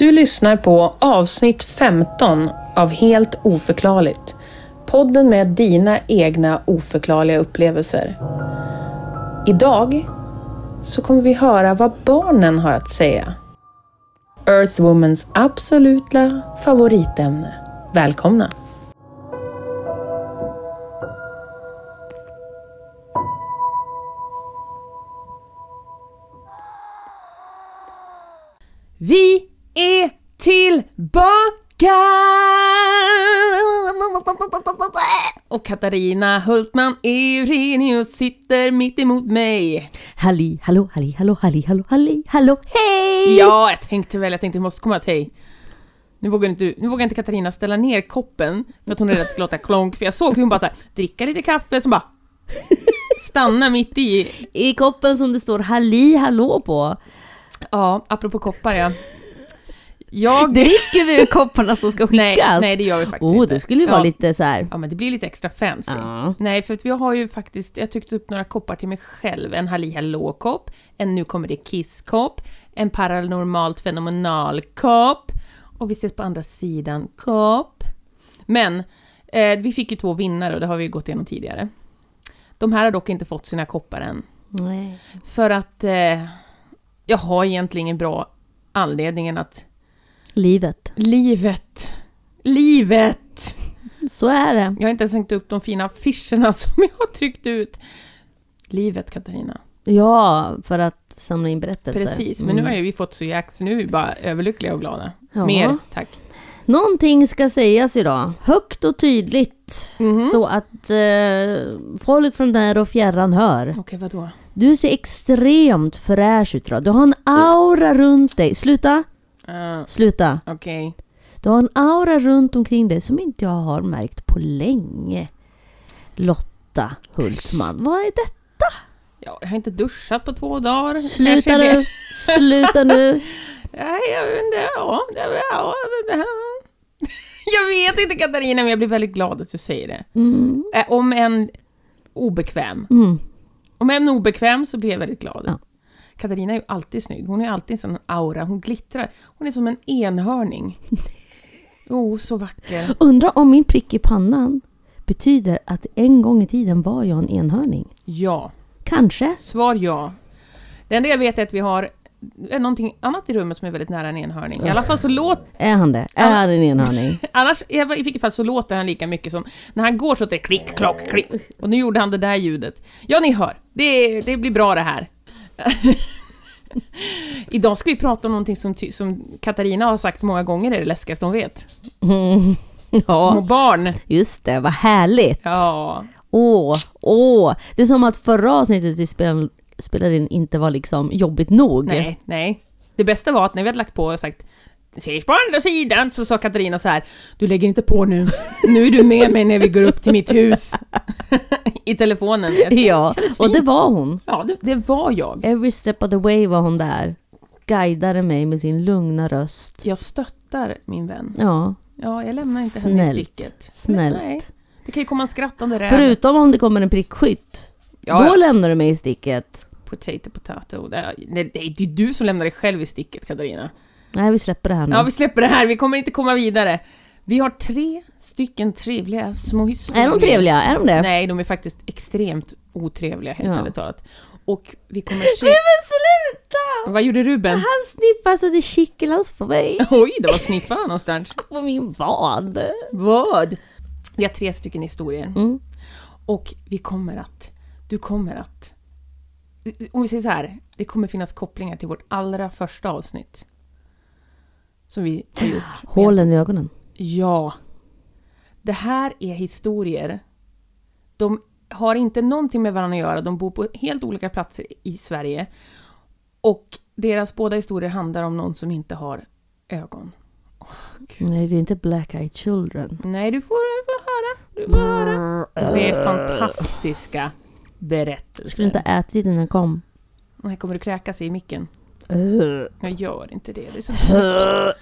lyssnar på avsnitt 15 av Helt oförklarligt. Podden med dina egna oförklarliga upplevelser. Idag så kommer vi höra vad barnen har att säga. Earthwomans absoluta favoritämne. Välkomna! Vi är tillbaka! Och Katarina Hultman Eurenius sitter mitt emot mig. Halli hallå, halli hallå, halli hallå, halli hallå, hej! Ja, jag tänkte väl, jag tänkte det måste komma ett hej. Nu vågar, inte, nu vågar inte Katarina ställa ner koppen för att hon är rädd att det ska låta klonk, för jag såg hur hon bara så här, dricka lite kaffe, som bara stanna mitt i. I koppen som det står halli hallå på. Ja, apropå koppar ja. Jag... Dricker vi ur kopparna som ska skickas? Nej, nej, det gör vi faktiskt Åh, inte. det skulle ju vara Ja. lite så här. Ja men det blir lite extra fancy. Ja. Nej för att vi har ju faktiskt, jag tyckte upp några koppar till mig själv. En Halli Hallå-kopp, en Nu kommer det Kiss-kopp, en Paranormalt Fenomenal-kopp och vi ses på andra sidan-kopp. Men eh, vi fick ju två vinnare och det har vi ju gått igenom tidigare. De här har dock inte fått sina koppar än. Nej. För att eh, jag har egentligen ingen bra anledningen att Livet, livet, livet så är det. Jag har inte ens hängt upp de fina affischerna som jag har tryckt ut. Livet, Katarina. Ja, för att samla in berättelser. Precis, men nu har ju vi fått så jäkla... Så nu är vi bara överlyckliga och glada. Mm. Ja. Mer, tack. Någonting ska sägas idag, högt och tydligt. Mhm. Så att eh, folk från där och fjärran hör. Okej, vadå? Du ser extremt fräsch ut idag. Du har en aura runt dig. Sluta, Uh, sluta. Okej. Du har en aura runt omkring dig som inte jag har märkt på länge. Lotta Hultman, vad är detta? Ja, jag har inte duschat på två dagar. Kanske Sluta är det- nu, sluta nu. Nej, jag vet inte. Ja, det, ja, det, det, Jag vet inte, Katarina, men jag blir väldigt glad att du säger det. Mm. Eh, om en obekväm. Mm. Om en obekväm så blir jag väldigt glad. Ja. Katarina är ju alltid snygg. Hon är alltid en sån aura. Hon glittrar. Hon är som en enhörning. Oh, så vacker. Undra om min prick i pannan betyder att en gång i tiden var jag en enhörning. Ja. Kanske. Svar ja. Det enda jag vet är att vi har eh, någonting annat i rummet som är väldigt nära en enhörning. I alla fall så låt... Är han det? Är han en enhörning? Annars, i vilket fall så låter han lika mycket som... När han går så låter det klick, klock, klick. Och nu gjorde han det där ljudet. Ja, ni hör. Det, det blir bra det här. Idag ska vi prata om någonting som, ty- som Katarina har sagt många gånger är det läskigaste hon vet. Mm. Små Ja, barn. just det. Vad härligt. Ja. Åh, åh. Det är som att förra avsnittet vi spel- spelade in inte var liksom jobbigt nog. Nej, nej. Det bästa var att när vi hade lagt på och sagt Ses på andra sidan så sa Katarina så här Du lägger inte på nu. Nu är du med mig när vi går upp till mitt hus. I telefonen. Ja, och det fint. var hon. Ja, det, det var jag. Every step of the way var hon där. Guidade mig med sin lugna röst. Jag stöttar min vän. Ja, Ja, jag lämnar inte henne i Snällt. sticket. Snällt. Nej. Det kan ju komma en skrattande räv. förutom om det kommer en prickskytt. Ja, Då ja. lämnar du mig i sticket. Potato, potato. Det är, nej, det är du som lämnar dig själv i sticket, Katarina. Nej, vi släpper det här nu. Ja, vi släpper det här. Vi kommer inte komma vidare. Vi har tre stycken trevliga små historier. Är de trevliga? Är de det? Nej, de är faktiskt extremt otrevliga, helt Ja. ärligt talat. Och vi kommer se... Men sluta! Vad gjorde Ruben? Han sniffar så det kittlas på mig. Oj, det var sniffade han någonstans. På min vad. Vad? Vi har tre stycken historier. Mm. Och vi kommer att... Du kommer att... Om vi säger så här, det kommer finnas kopplingar till vårt allra första avsnitt. Som vi har gjort. Hålen i ögonen. Ja. Det här är historier. De har inte någonting med varandra att göra. De bor på helt olika platser i Sverige. Och deras båda historier handlar om någon som inte har ögon. Nej, det är inte Black Eyed Children. Nej, du får, du får höra. Du får höra. Det är fantastiska Jag skulle berättelser. inte ha ätit innan jag kom. Nej, kommer du kräkas i micken? Jag gör inte det. Det är så...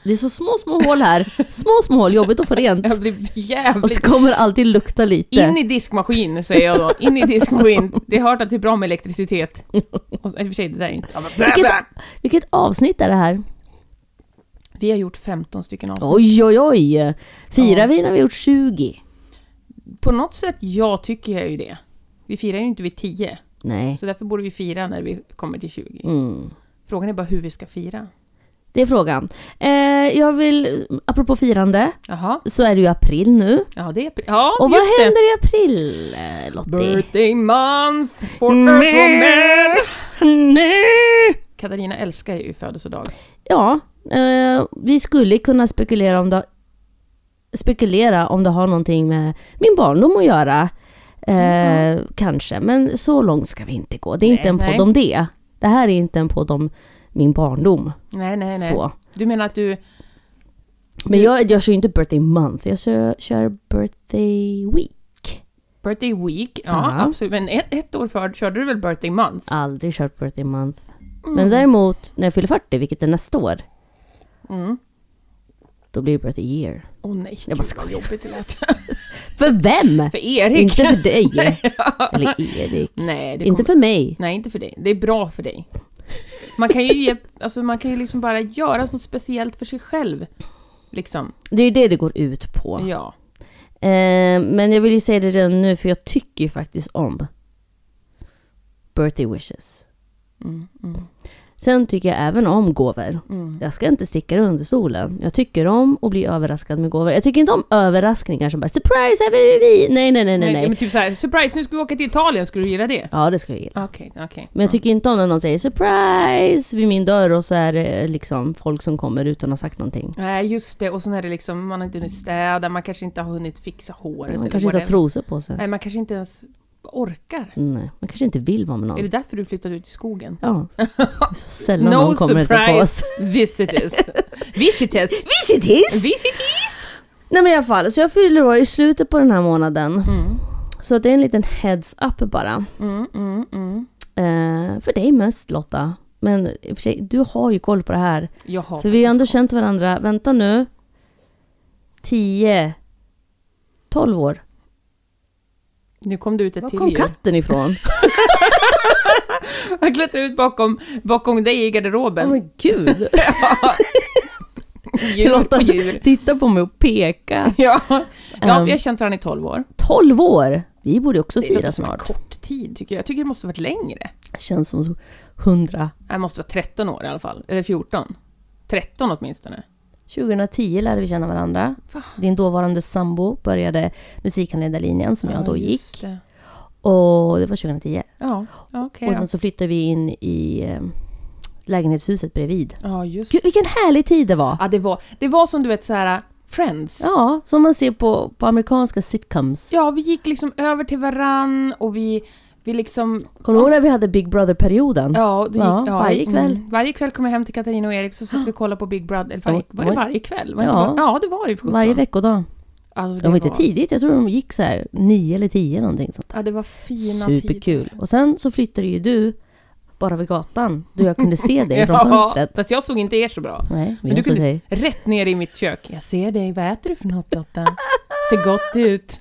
Det är så små, små hål här. Små, små hål. Jobbigt att få rent. Jag blir Och jävligt så kommer det alltid lukta lite. In i diskmaskin, säger jag då. In i diskmaskin. Det har hört att det är bra med elektricitet. Och, I och för sig, det där är inte... Vilket, vilket avsnitt är det här? Vi har gjort 15 stycken avsnitt. Oj, oj, oj! Firar Ja. vi när vi gjort 20? På något sätt, jag tycker jag ju det. Vi firar ju inte vid 10, Nej. så därför borde vi fira när vi kommer till 20. Mm. Frågan är bara hur vi ska fira. Det är frågan. Eh, jag vill, apropå firande, Jaha, så är det ju april nu. ja det är... Ja, Och vad just det! händer i april, eh, Lottie? Birthday month for Nej. us women! Nej! Katarina älskar ju födelsedag. Ja, eh, vi skulle kunna spekulera om det spekulera om det har någonting med min barndom att göra. Eh, Kanske, men så långt ska vi inte gå. Det är Nej, inte en podd nej. om det. Det här är inte en podd om min barndom. Nej, nej, nej. Så. Du menar att du... Men jag, jag kör ju inte birthday month, jag kör, kör birthday week. Birthday week, ja Ja. absolut. Men ett, ett år förr körde du väl birthday Mm. month? Aldrig kört birthday month. Men däremot när jag fyller 40, vilket är nästa år, Mm. då blir det birthday year. Åh nej, gud, Jag bara vad skojar. jobbigt det lät. För vem? För Erik! inte för dig. Eller Erik. nej, det Inte kommer... för mig. nej, inte för dig. Det är bra för dig. Man kan ju, ge, alltså, man kan ju liksom bara göra något speciellt för sig själv. Liksom. Det är ju det det går ut på. Ja. Eh, men jag vill ju säga det redan nu för jag tycker ju faktiskt om birthday wishes. Mm, mm, Sen tycker jag även om gåvor. mm. Jag ska inte sticka det under stolen. Jag tycker om att bli överraskad med gåvor. Jag tycker inte om överraskningar som bara “surprise, här är vi!” Nej, nej, nej, nej, nej. Men typ såhär, surprise nu ska vi åka till Italien, skulle du gilla det? Ja, det ska jag gilla. Okej, okej. Men jag tycker inte om när någon säger “surprise” vid min dörr och så är det liksom folk som kommer utan att ha sagt någonting. Nej, just det. Och sen är det liksom, man har inte hunnit städa, man kanske inte har hunnit fixa håret. Man eller kanske inte har whatever. trosor på sig. Nej, man kanske inte ens orkar. Nej, man kanske inte vill vara med Är det någon. därför du flyttade ut i skogen? Ja. Så sällan No någon kommer och hälsar på surprise. oss. Visitors. Visitors. Visitis! Visitis! Nej men i alla fall, så jag fyller år i slutet på den här månaden. Så det är en liten heads up bara. Mm, mm, mm. Eh, för dig mest Lotta. Men i och för sig, du har ju koll på det här. Jag har för vi har ändå faktiskt känt varandra, vänta nu, 10, 12 år. koll. Nu kom du ut ett Var till kom djur. katten ifrån? Jag klättrade ut bakom, bakom dig i Åh garderoben. men gud! Ja. djur Lotta och djur. titta på mig och peka. Ja, ja Ehm. vi har känt varandra i 12 år. 12 år! Vi borde också Det låter fira som en snart. kort tid tycker jag. Jag tycker det måste varit längre. Känns som så- 100. Det måste vara 13 år i alla fall. Eller 14. 13 åtminstone. 2010 lärde vi känna varandra. Va? Din dåvarande sambo började musikanledarlinjen som jag då Ja, just gick. det. Och det var 2010. Ja, ja, okej. Och då. sen så flyttade vi in i eh, lägenhetshuset bredvid. Ja, just Gud, vilken härlig tid det var! Ja, det var, det var som du vet så här äh, Friends. Ja. Ja, som man ser på, på amerikanska sitcoms. vi gick liksom över till varann och vi, vi liksom... Kommer du ihåg när vi hade Big Brother-perioden? Ja, det gick, mm. Ja, varje kväll. varje kväll kom jag hem till Katarina och Erik så satt vi och kollade på Big Brother. Eller varje, var det Oj. varje kväll? Var det Ja. inte bara, ja, det var det ju. för sjutton. Varje veckodag. Alltså, Det var inte tidigt, jag tror de gick så här 9 eller 10 någonting sånt. Ja, det var fina tider. Superkul. Och sen så flyttade ju du bara vid gatan, då jag kunde se dig från Ja, fönstret. fast jag såg inte er så bra. Nej, vi Men du såg dig. kunde rätt ner i mitt kök. Jag ser dig, vad äter du för något Lotta? Ser gott ut.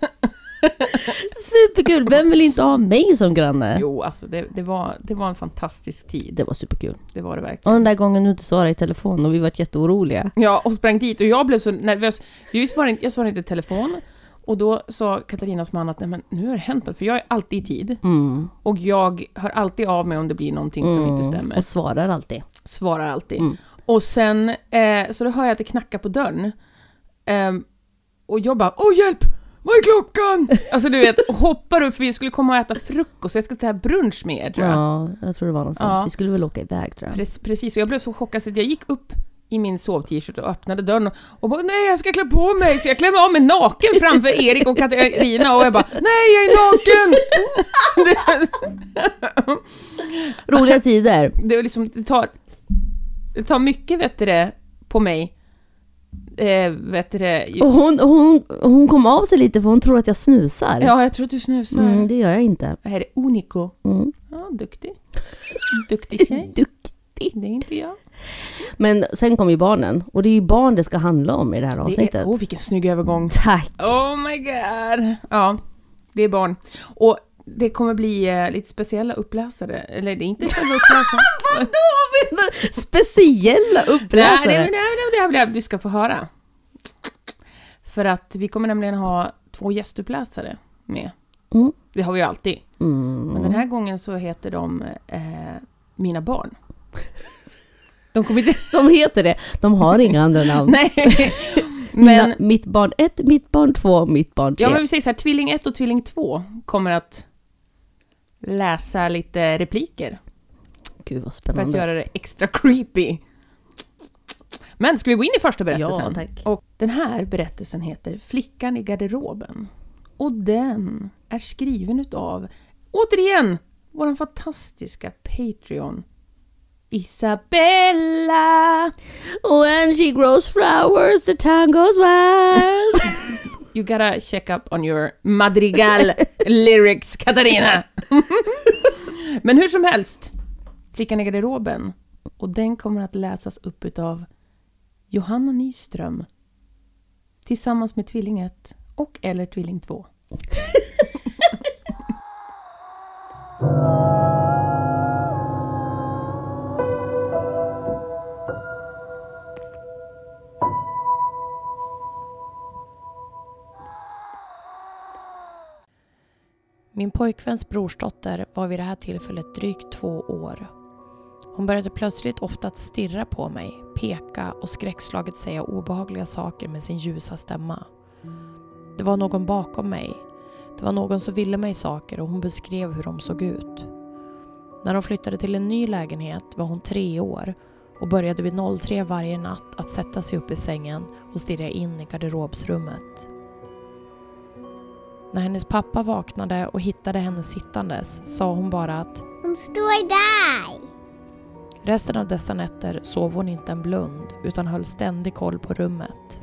Superkul! Vem vill inte ha mig som granne? Jo, alltså det, det, var, det var en fantastisk tid. Det var superkul. Det var det verkligen. Och den där gången du inte svarade i telefon och vi var jätteoroliga. Ja, och sprang dit och jag blev så nervös. Jag svarade, inte- jag svarade inte i telefon. Och då sa Katarinas man att Nej, men nu har det hänt något, för jag är alltid i tid. Mm. Och jag hör alltid av mig om det blir någonting som inte stämmer. Och svarar alltid. Mm. Svarar alltid. Mm. Och sen, eh, så då hör jag att det knackar på dörren. Ehm, och jag bara Åh hjälp! Vad är klockan? Alltså du vet, och hoppar upp för vi skulle komma och äta frukost, jag ska ta brunch med er tror jag. Ja, jag tror det var något sånt. Ja. Vi skulle väl åka iväg tror jag. Pre- Precis, och jag blev så chockad så att jag gick upp i min sov-t-shirt och öppnade dörren och, och bara nej jag ska klä på mig, så jag klämde av mig naken framför Erik och Katarina och jag bara nej jag är naken! Roliga tider. Det, är liksom, det, tar, det tar mycket vet du det, på mig, eh, vet du det, ju- Och hon, hon, hon kom av sig lite för hon tror att jag snusar. ja jag tror att du snusar. Mm, det gör jag inte. Det här är Unico. Mm. Ja, duktig. Duktig tjej. Duck. Det är inte jag. Men sen kom ju barnen. Och det är ju barn det ska handla om i det här Det är, avsnittet. Oh åh vilken snygg övergång. Tack! Oh my god. Ja, det är barn. Och Det kommer bli eh, lite speciella uppläsare. Eller det är inte själva uppläsaren. menar Speciella Nej, uppläsare! nej, nej, nej, nej, nej, du ska få höra. För att vi kommer nämligen ha två gästuppläsare med. Mm. Det har vi ju alltid. Mm. Men den här gången så heter de eh, Mina barn. De kommer inte... De heter det. De har inga andra namn. Nej! Men... Men, Mitt Mm. barn 1, mitt barn 2, mitt barn 3. ja, men vi säger så här, Tvilling 1 och Tvilling 2 kommer att läsa lite repliker Gud vad för att spännande. göra det extra creepy. Men ska vi gå in i första berättelsen? Ja, tack. Och den här berättelsen heter Flickan i garderoben. Och den är skriven utav, återigen, vår fantastiska Patreon Isabella! When she grows flowers the town goes wild. You gotta check up on your madrigal lyrics, Katarina! Men hur som helst, Flickan i garderoben. Och den kommer att läsas upp utav Johanna Nyström tillsammans med Tvilling 1 och eller Tvilling 2. Min pojkväns brorsdotter var vid det här tillfället drygt två år. Hon började plötsligt ofta att stirra på mig, peka och skräckslaget säga obehagliga saker med sin ljusa stämma. Det var någon bakom mig. Det var någon som ville mig saker och hon beskrev hur de såg ut. När de flyttade till en ny lägenhet var hon tre år och började vid 03 varje natt att sätta sig upp i sängen och stirra in i garderobsrummet. När hennes pappa vaknade och hittade henne sittandes sa hon bara att Hon står där! resten av dessa nätter sov hon inte en blund utan höll ständig koll på rummet.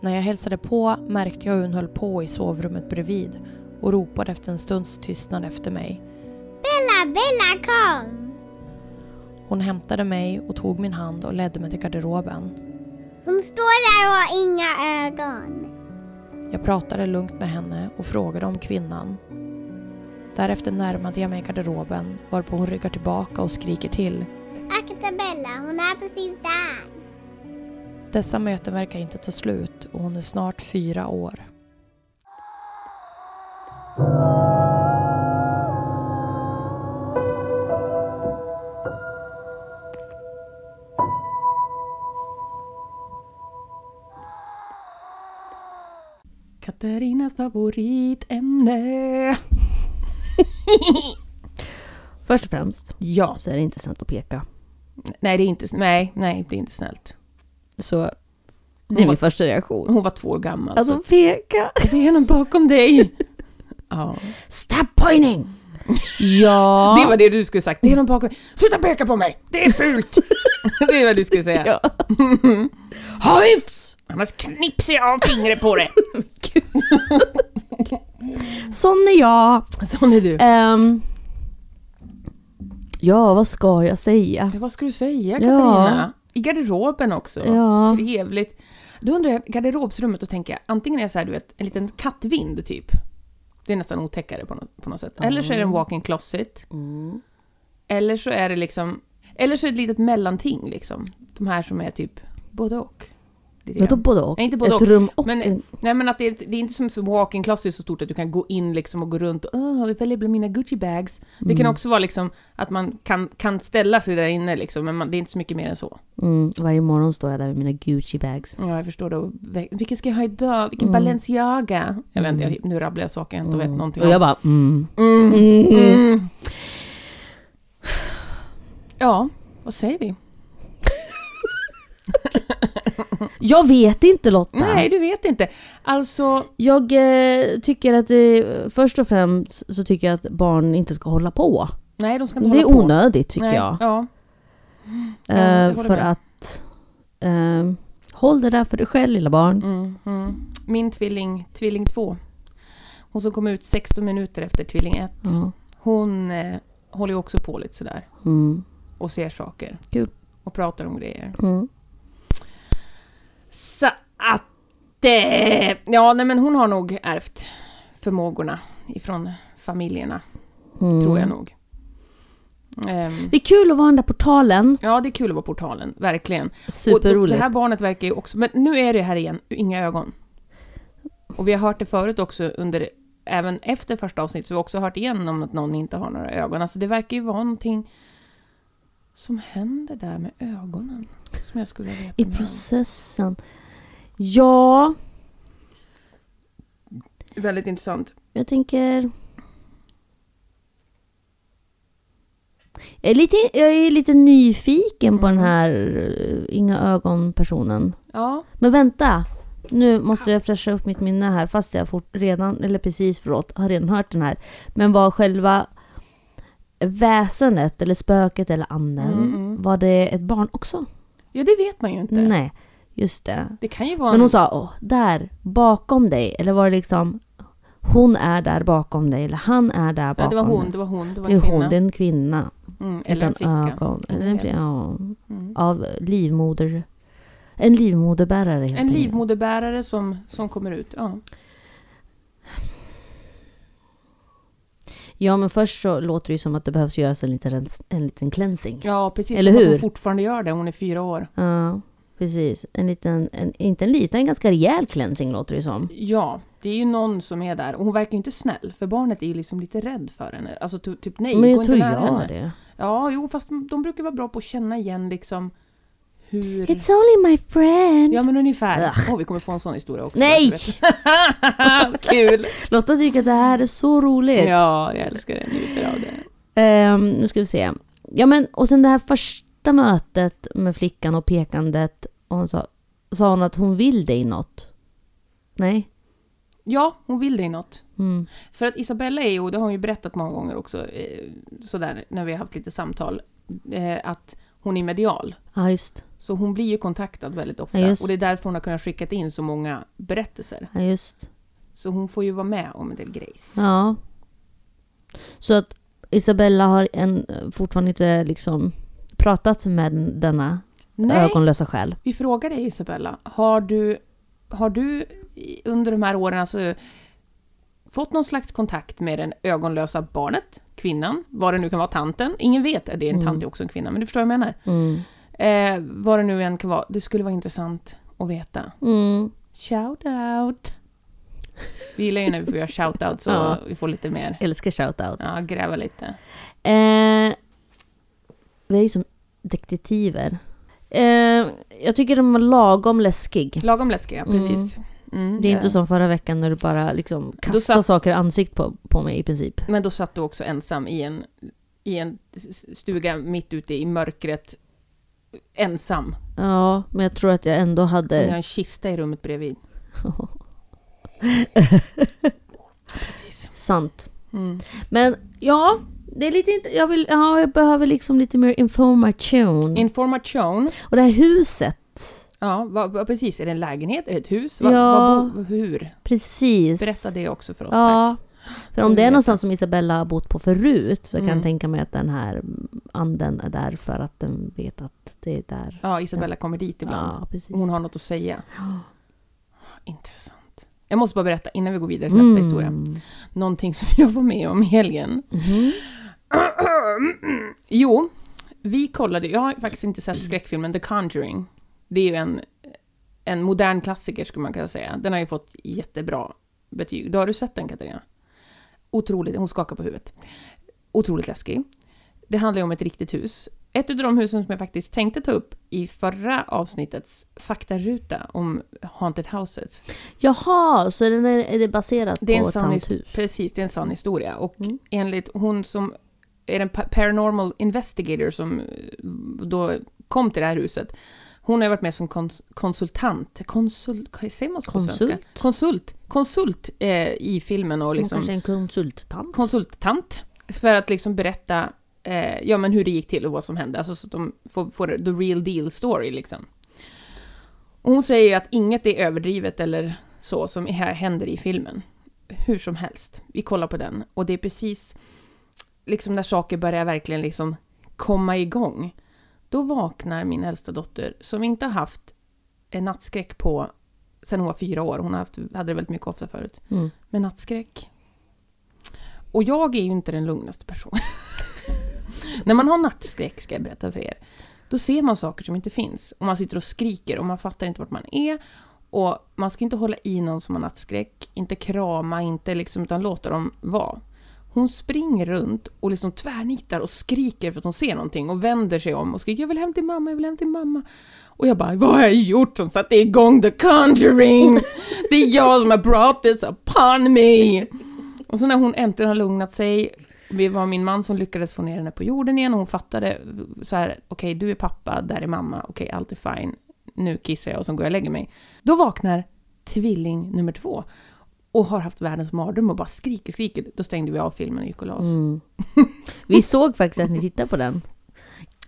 När jag hälsade på märkte jag hur hon höll på i sovrummet bredvid och ropade efter en stunds tystnad efter mig. Bella, Bella kom! Hon hämtade mig och tog min hand och ledde mig till garderoben. Hon står där och har inga ögon. Jag pratade lugnt med henne och frågade om kvinnan. Därefter närmade jag mig garderoben varpå hon ryggar tillbaka och skriker till. Akta Bella, hon är precis där. Dessa möten verkar inte ta slut och hon är snart fyra år. Katarinas favoritämne. Först och främst Ja. så är det inte sant att peka. Nej, det är inte, nej, nej, det är inte snällt. Så det Hon är var- min första reaktion. Hon var två år gammal. Alltså peka! så det är någon bakom dig. Ja. Stop pointing! Ja. Det var det du skulle sagt. Det är någon bakom Sluta peka på mig! Det är fult! det är vad du skulle säga. Ja. Ha hyfs! Annars knipsar jag av fingret på dig. Sån är jag. Sån är du. Ehm, ja, vad ska jag säga? Ja, Vad ska du säga Ja. Katarina? I garderoben också. Ja. Trevligt. Då undrar jag, garderobsrummet, då tänker jag antingen är det så här, du vet, en liten kattvind typ. Det är nästan otäckare på något, på något sätt. Eller så är det en walk-in closet. Eller så är det liksom, eller så är det ett litet mellanting liksom. De här som är typ både och. Lite Vadå grann. både och? Nej, inte både Ett och, rum och men- en... Nej men att det, är, ett- det är inte som så walk-in closet är så stort att du kan gå in liksom och gå runt och åh, jag väljer bland mina Gucci bags. Det kan också vara liksom att man kan, kan ställa sig där inne liksom, men man, det är inte så mycket mer än så. Mm, varje morgon står jag där med mina Gucci-bags. Ja, jag förstår det. Och vä- Vilken ska jag ha idag? Vilken Mm. Balenciaga? Jag vet inte, jag, nu rabblar jag saker Mm. jag inte vet någonting Och jag om. bara mm. Mm. Mm. Mm. Ja, vad säger vi? Jag vet inte Lotta! Nej, du vet inte. Alltså, Jag eh, tycker att det, först och främst så tycker jag att barn inte ska hålla på. nej, de ska inte Det är hålla på. onödigt tycker Nej, jag. Ja, Ja, Eh, jag håller för med. att... Eh, håll det där för dig själv lilla barn. Mm, mm. Min tvilling, tvilling 2. Hon som kom ut 16 minuter efter tvilling 1. Ja. Hon eh, håller ju också på lite sådär Mm. och ser saker. Kul. Och pratar om grejer. Mm. Så att... Eh, ja, nej men hon har nog ärvt förmågorna ifrån familjerna, Mm. tror jag nog. Ehm, Det är kul att vara den där portalen. ja, det är kul att vara portalen, verkligen. Och, och det Superroligt. här barnet verkar ju också... Men nu är det här igen, inga ögon. Och vi har hört det förut också under... Även efter första avsnittet, så har vi också hört igen om att någon inte har några ögon. Alltså det verkar ju vara någonting som händer där med ögonen. Som jag skulle vilja I veta mer om. processen. Ja, Väldigt intressant. jag tänker... Jag är lite, jag är lite nyfiken på Mm. den här eh, inga ögon-personen. Ja, Men vänta! Nu måste jag fräscha upp mitt minne här fast jag fort, redan, eller precis förlåt, har redan hört den här. Men var själva väsendet eller spöket eller anden, Mm, mm. var det ett barn också? ja det vet man ju inte. Nej, just det. Det kan ju vara... Men hon en- sa Åh, där bakom dig, eller var det liksom hon är där bakom dig eller han är där bakom ja, det var hon, dig? det var hon, det var Det är en hon, kvinna. det är en kvinna. mm, eller en utan flicka. ögon. Ja, det Eller en vet. flicka. Ja, Mm. av livmoder... En livmoderbärare helt En enkelt. livmoderbärare som, som kommer ut. Ja. Ja, men först så låter det ju som att det behövs göras en liten, rens- en liten cleansing. Ja. ja, precis. Eller som att hur? Hon fortfarande gör det, hon är fyra år. precis. En liten, en, inte en liten, en ganska rejäl cleansing låter det ju som. Ja, det är ju någon som är där. Och hon verkar ju inte snäll, för barnet är ju liksom lite rädd för henne. Alltså ty- typ nej, men gå jag inte tror nära jag henne. det. Ja, jo, fast de brukar vara bra på att känna igen liksom hur... It's only my friend. Ja, men ungefär. Ugh. Åh, vi kommer få en sån historia också. Nej! Kul! Lotta tycker att det här är så roligt. Ja, jag älskar det. Jag Njuter av det. Ehm, nu ska vi se. Ja, men och sen det här första mötet med flickan och pekandet. Och hon sa, sa hon att hon vill dig något? Nej? Ja, hon vill dig något. Mm. För att Isabella är ju, och det har hon ju berättat många gånger också, eh, sådär när vi har haft lite samtal, eh, att hon är medial. Ja, just. Så hon blir ju kontaktad väldigt ofta. Ja, just. och det är därför hon har kunnat skicka in så många berättelser. Ja, just. Så hon får ju vara med om en del grejs. Ja. Så att Isabella har en, fortfarande inte liksom pratat med denna Nej, ögonlösa själ. vi frågar dig Isabella, har du, har du i- under de här åren alltså, fått någon slags kontakt med den ögonlösa barnet, kvinnan, vad det nu kan vara, tanten? Ingen vet, det är en Mm. tant är också en kvinna, men du förstår vad jag menar. Mm. Eh, vad det nu än kan vara, det skulle vara intressant att veta. Mm. Shout out! Vi gillar ju när vi får göra shout out så Ja. vi får lite mer, Älskar shoutouts. ja, gräva lite. Eh, vi är ju som detektiver. Eh, jag tycker den var lagom läskig. Lagom läskiga, Mm. precis. Mm, Det är inte som förra veckan när du bara liksom kastade satt- saker i ansikt på, på mig i princip. Men då satt du också ensam i en, i en s- stuga mitt ute i mörkret. Ensam. Ja, men jag tror att jag ändå Och ni har hade... en kista i rummet bredvid. Precis. Sant. Mm. Men ja, det är lite inte... Jag, vill, ja, jag behöver liksom lite mer information. Information. Och det här huset, Ja, vad, vad, precis. Är det en lägenhet? Är det ett hus? Vad, Ja. vad bo, hur? precis. Berätta det också för oss, Ja. tack. För om Nu det är vet någonstans som Isabella har bott på förut så kan Mm. jag tänka mig att den här anden är där för att den vet att det är där. Ja, Isabella kommer dit ibland. Ja, precis. Hon har något att säga. Intressant. Jag måste bara berätta innan vi går vidare till Mm. nästa historia. Någonting som jag var med om i helgen. Mhm. Jo, vi kollade, jag har faktiskt inte sett skräckfilmen The Conjuring. Det är ju en, en modern klassiker skulle man kunna säga. Den har ju fått jättebra betyg. Då har du sett den Katarina? Otroligt, hon skakar på huvudet. Otroligt läskig. Det handlar ju om ett riktigt hus. Ett av de husen som jag faktiskt tänkte ta upp i förra avsnittets faktaruta om haunted houses. Jaha, så den är, är det baserat Det är en på ett sann sant his- hus? Precis, det är en sann historia. Och Mm. enligt hon som är en pa- paranormal investigator som eh, då kom till det här huset. Hon har varit med som kons- konsultant, konsult, säger man så på svenska? Konsult? Konsult, konsult eh, i filmen och Hon liksom kanske är en konsulttant? konsulttant. För att liksom berätta eh, ja, men hur det gick till och vad som hände. Alltså så att de får, får the real deal story liksom. Och hon säger ju att inget är överdrivet eller så som här händer i filmen. Hur som helst, vi kollar på den och det är precis liksom när saker börjar verkligen liksom komma igång. Då vaknar min äldsta dotter som inte har haft en nattskräck på sen hon var fyra år. Hon har haft, hade det väldigt mycket ofta förut. Mm. Med nattskräck. Och jag är ju inte den lugnaste personen. När man har nattskräck, ska jag berätta för er, då ser man saker som inte finns. Och man sitter och skriker och man fattar inte vart man är. Och man ska inte hålla i någon som har nattskräck, inte krama, inte liksom, utan låta dem vara. Hon springer runt och liksom tvärnitar och skriker för att hon ser någonting och vänder sig om och skriker “Jag vill hem till mamma, jag vill hem till mamma”. Och jag bara “Vad har jag gjort som satte igång the conjuring? Det är jag som har brought this upon me!” Och så när hon äntligen har lugnat sig, det var min man som lyckades få ner henne på jorden igen och hon fattade så här, okej du är pappa, där är mamma, okej allt är fine, nu kissar jag och så går jag och lägger mig. Då vaknar tvilling nummer två och har haft världens mardröm och bara skriker, skriker. Då stängde vi av filmen och gick och la oss. Mm. Vi såg faktiskt att ni tittade på den.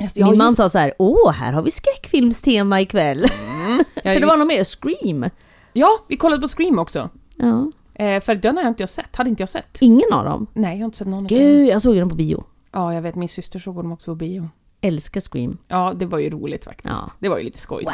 Alltså, jag har Min man just- sa så här, åh, här har vi skräckfilmstema ikväll. jag- För det var nog mer Scream. Ja, vi kollade på Scream också. Ja. Eh, för den har jag inte jag sett, hade inte jag sett. Ingen av dem. Nej, jag har inte sett någon av dem. Gud, jag såg ju den på bio. Ja, jag vet, min syster såg dem också på bio. Älskar Scream. Ja, det var ju roligt faktiskt. Ja. Det var ju lite skoj.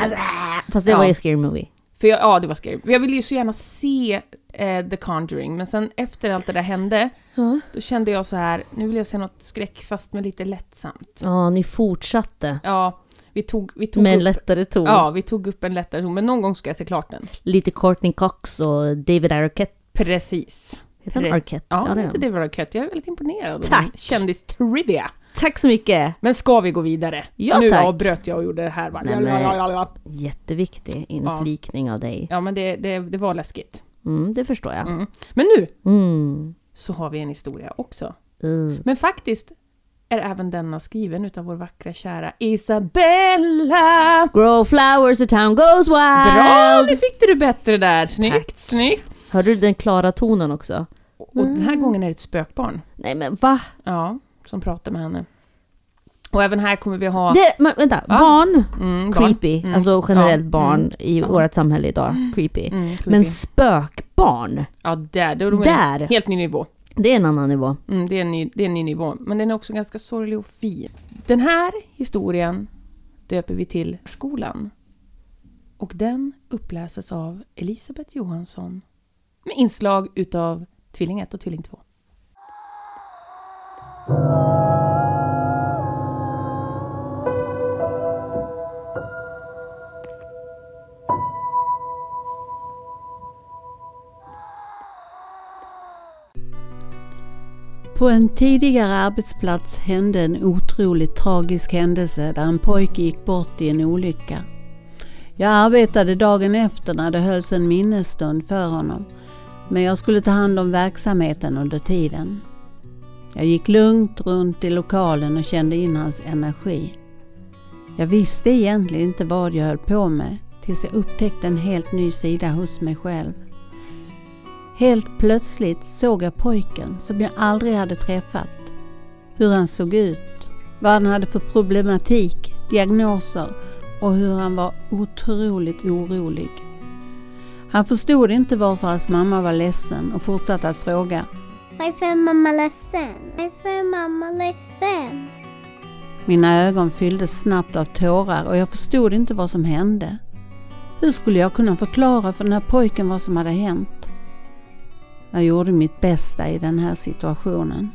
Fast det Ja. var ju Scary Movie. För jag, ja, det var scary. Jag ville ju så gärna se eh, The Conjuring, men sen efter allt det där hände, Ja. då kände jag så här, nu vill jag se något skräck fast med lite lättsamt. Ja, ni fortsatte. Ja, vi tog, vi tog Med en upp... lättare ton. Ja, vi tog upp en lättare ton, men någon gång ska jag se klart den. Lite Courtney Cox och David Arquette. Precis. Heter han Pre- Arquette? Ja, det det är inte han. det var kött. Jag är väldigt imponerad. av Tack. din Kändis-trivia. Tack så mycket! Men ska vi gå vidare? Ja, nu tack. avbröt jag och gjorde det här. Bara. Nej, Ja, men- ja, ja, ja. Jätteviktig Ja. inflikning av dig. ja, men det, det, det var läskigt. Mm, det förstår jag. Mm. Men nu Mm. så har vi en historia också. Mm. Men faktiskt är även denna skriven utav vår vackra kära Isabella! Grow flowers, the town goes wild! Bra! Nu fick du det bättre där. Snyggt, Tack. snyggt! Hörde du den klara tonen också? Och och den här Mm. gången är det ett spökbarn. Nej men va? Ja, som pratar med henne. Och även här kommer vi ha... Det, men, vänta, Va? barn? Mm, barn. Creepy. Mm. Alltså generellt Ja. barn Mm. i Ja. vårt samhälle idag. Creepy. Mm, creepy. Men spökbarn, Ja, där. Då är det Där. En helt ny nivå. det är en annan nivå. Mm, det, är en ny, det är en ny nivå. Men den är också ganska sorglig och fin. Den här historien döper vi till skolan. Och den uppläses av Elisabeth Johansson med inslag utav Tvilling 1 och Tvilling 2. På en tidigare arbetsplats hände en otroligt tragisk händelse där en pojke gick bort i en olycka. Jag arbetade dagen efter när det hölls en minnesstund för honom. Men jag skulle ta hand om verksamheten under tiden. Jag gick lugnt runt i lokalen och kände in hans energi. Jag visste egentligen inte vad jag höll på med tills jag upptäckte en helt ny sida hos mig själv. Helt plötsligt såg jag pojken som jag aldrig hade träffat. Hur han såg ut, vad han hade för problematik, diagnoser och hur han var otroligt orolig. Han förstod inte varför hans mamma var ledsen och fortsatte att fråga. Varför är mamma ledsen? Varför är mamma ledsen? Mina ögon fylldes snabbt av tårar och jag förstod inte vad som hände. Hur skulle jag kunna förklara för den här pojken vad som hade hänt? Jag gjorde mitt bästa i den här situationen.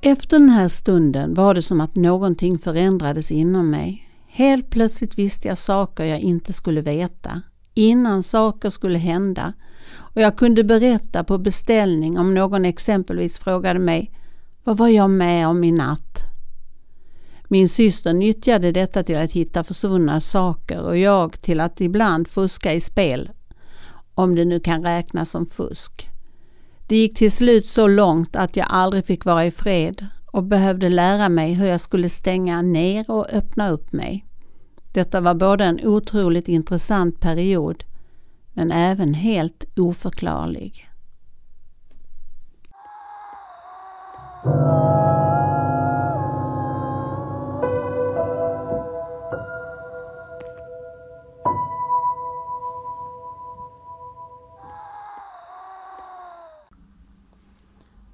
Efter den här stunden var det som att någonting förändrades inom mig. Helt plötsligt visste jag saker jag inte skulle veta innan saker skulle hända och jag kunde berätta på beställning om någon exempelvis frågade mig vad var jag med om i natt? Min syster nyttjade detta till att hitta försvunna saker och jag till att ibland fuska i spel, om det nu kan räknas som fusk. Det gick till slut så långt att jag aldrig fick vara i fred och behövde lära mig hur jag skulle stänga ner och öppna upp mig. Detta var både en otroligt intressant period men även helt oförklarlig.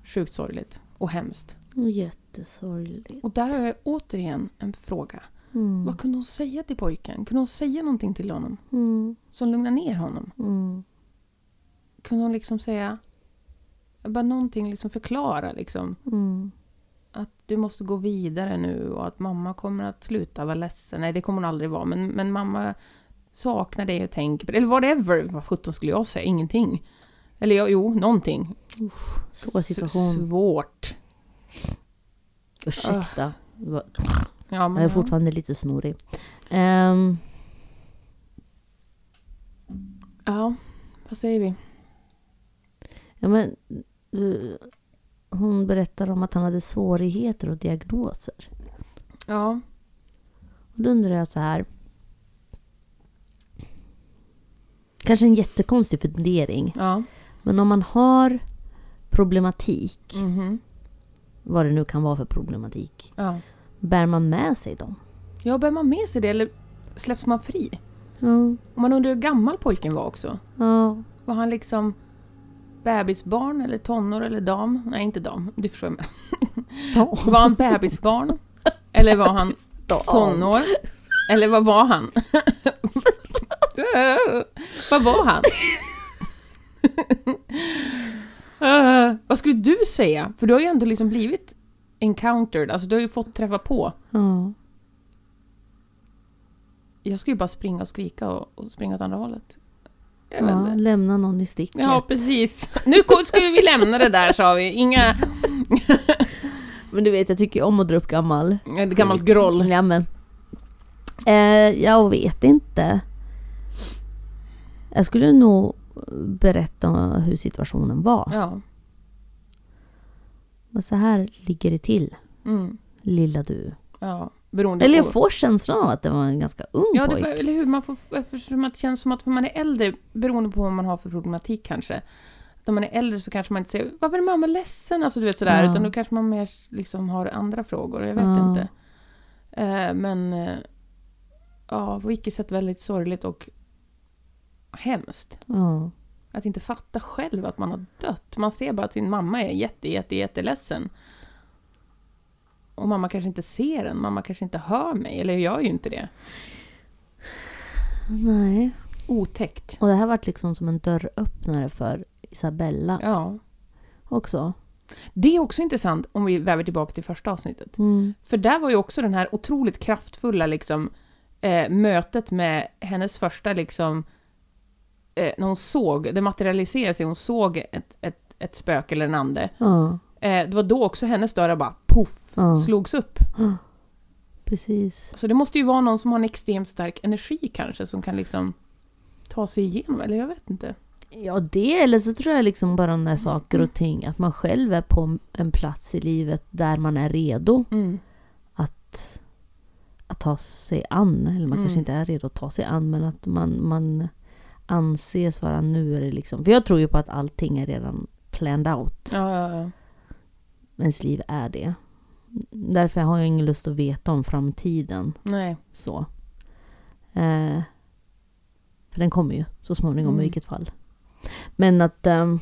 Sjukt sorgligt och hemskt. Jättesorgligt. Och där har jag återigen en fråga. Mm. Vad kunde hon säga till pojken? Kunde hon säga någonting till honom Mm. som lugnar ner honom? Mm. Kunde hon liksom säga... Bara någonting liksom förklara liksom. Mm. Att du måste gå vidare nu och att mamma kommer att sluta vara ledsen. Nej, det kommer hon aldrig vara. Men, men mamma saknar dig och tänker på dig. Eller whatever. Vad sjutton skulle jag säga? Ingenting. Eller ja, jo, någonting. Svår situation. Svårt. Ah. Ursäkta. Det var- Ja, Jag är fortfarande lite snorig. Ehm, Ja, vad säger vi? ja, men, eh, hon berättar om att han hade svårigheter och diagnoser. Ja. Och då undrar jag så här. Kanske en jättekonstig fundering. Ja. Men om man har problematik, Mhm. vad det nu kan vara för problematik, ja. bär man med sig dem? Ja, bär man med sig det eller släpps man fri? Ja, Och man undrar hur gammal pojken var också. ja, Var han liksom bebisbarn eller tonår eller dam? Nej, inte dam. Du förstår mig. Var han bebisbarn? Eller var han tonår? Eller vad var han? vad var han? Eh, vad skulle du säga? För du har ju ändå liksom blivit encountered, alltså du har ju fått träffa på. ja. Jag skulle ju bara springa och skrika och, och springa åt andra hållet. Jag vet ja inte. lämna någon i sticket. Ja, precis. Nu ko- skulle vi lämna det där, sa vi. Inga Men du vet, jag tycker ju om att dra upp gammal. ett gammalt groll. Ja, men. Eh, jag vet inte. Jag skulle nog berätta hur situationen var. Ja. Men så här ligger det till, Mm. lilla du. ja. Beroende Eller jag på... får känslan av att det var en ganska ung Ja, det, pojk. får- eller hur? Man får, eftersom att det känns som att när man är äldre, beroende på vad man har för problematik kanske, när man är äldre så kanske man inte säger ”Varför är mamma ledsen?” alltså, du vet, sådär, Ja. utan då kanske man mer liksom, har andra frågor. Jag vet Ja. inte. Eh, men... eh, ja, på vilket sätt väldigt sorgligt och hemskt. Ja. Att inte fatta själv att man har dött. Man ser bara att sin mamma är jätte, jätte, jätteledsen. Och mamma kanske inte ser en, mamma kanske inte hör mig, eller jag gör ju inte det. Nej. Otäckt. Och det här vart liksom som en dörröppnare för Isabella Ja. också. Det är också intressant om vi väver tillbaka till första avsnittet. Mm. För där var ju också den här otroligt kraftfulla liksom, eh, mötet med hennes första, liksom, eh, när hon såg, det materialiserade sig, hon såg ett, ett, ett spöke eller en ande. Ja, Eh, det var då också hennes dörrar bara poff, Ja. slogs upp. precis. Så det måste ju vara någon som har en extremt stark energi kanske, som kan liksom ta sig igenom, eller jag vet inte. Ja, det eller så tror jag liksom bara när Mm. saker och ting, att man själv är på en plats i livet där man är redo att, att ta sig an. Eller man Mm. kanske inte är redo att ta sig an, men att man, man anses vara nu är det liksom. För jag tror ju på att allting är redan planned out. Ja, ja, ja. Ens liv är det. Därför har jag ingen lust att veta om framtiden. Nej. Så. Eh, för den kommer ju så småningom Mm. i vilket fall. Men att... ehm,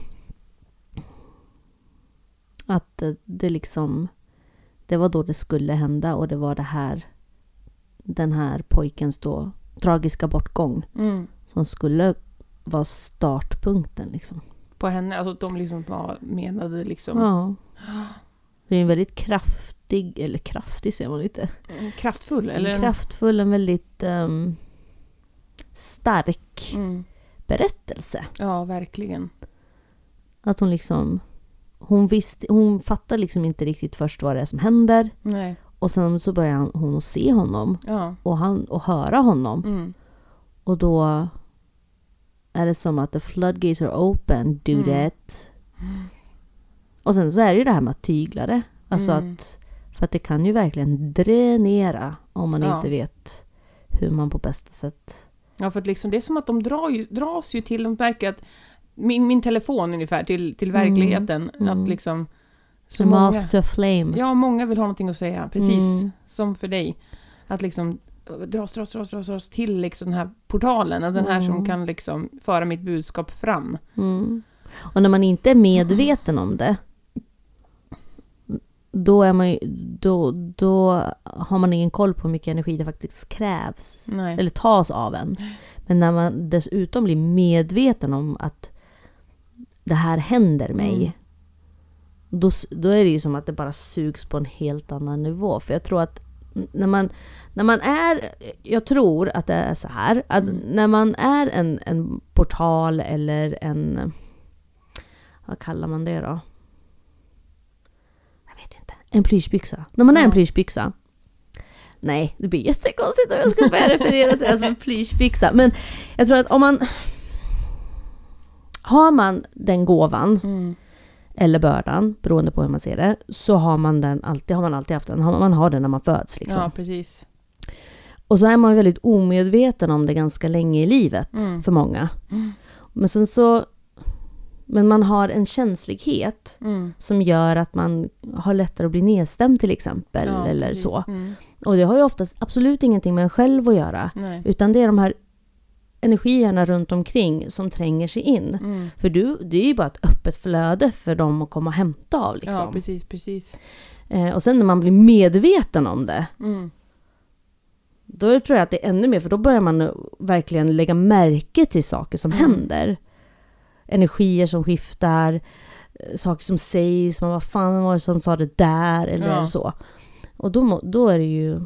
att eh, det liksom... Det var då det skulle hända och det var det här... Den här pojkens då tragiska bortgång Mm. som skulle vara startpunkten liksom. På henne, alltså de liksom var menade liksom. Ja. Det är en väldigt kraftig, eller kraftig ser man inte. Kraftfull, eller? En kraftfull, en väldigt ehm, stark Mm. berättelse. Ja, verkligen. Att hon liksom... Hon, visste, hon fattar liksom inte riktigt först vad det är som händer. Nej. Och sen så börjar hon- hon att se honom Ja. och, han, och höra honom. Mm. Och då är det som att the floodgates are open, do Mm. that. Och sen så är det ju det här med att tygla det. Alltså Mm. att... För att det kan ju verkligen dränera om man Ja. inte vet hur man på bästa sätt... Ja, för att liksom, det är som att de drar ju, dras ju till, de märker att min, min telefon ungefär, till, till Mm. verkligheten. Mm. Att liksom... Så The många, mouth to a flame. ja, många vill ha någonting att säga, precis. Mm. Som för dig. Att liksom eh, dras, dras, dras, dras, dras till liksom den här portalen. Den här som Mm. kan liksom föra mitt budskap fram. Mm. Och när man inte är medveten om det, då, är man ju, då, då har man ingen koll på hur mycket energi det faktiskt krävs Nej. eller tas av en. Men när man dessutom blir medveten om att det här händer mig. Mm. Då, s- då är det ju som att det bara sugs på en helt annan nivå. För jag tror att n- när man, när man är, jag tror att det är så här, att när man är en, en portal eller en, vad kallar man det då? Jag vet inte. En plyschbyxa. När man är en Ja. plyschbyxa. Nej, det blir jättekonstigt om jag skulle börja referera till det som en plyschbyxa. Men jag tror att om man... Har man den gåvan, Mm. eller bördan, beroende på hur man ser det, så har man den alltid, har man alltid haft den. Har- Man har den när man föds. Liksom. Ja, precis. Och så är man ju väldigt omedveten om det ganska länge i livet Mm. för många. Mm. Men sen så... Men man har en känslighet Mm. som gör att man har lättare att bli nedstämd till exempel. Ja, eller precis. så. Mm. Och det har ju oftast absolut ingenting med en själv att göra. Nej. Utan det är de här energierna runt omkring som tränger sig in. Mm. För du, det är ju bara ett öppet flöde för dem att komma och hämta av. Ja, Liksom. precis, precis. eh, och sen när man blir medveten om det, Mm. då tror jag att det är ännu mer, för då börjar man verkligen lägga märke till saker som Mm. händer. Energier som skiftar, eh, saker som sägs, man bara fan vem var det som sa det där eller Ja. så. Och då, må- då är det ju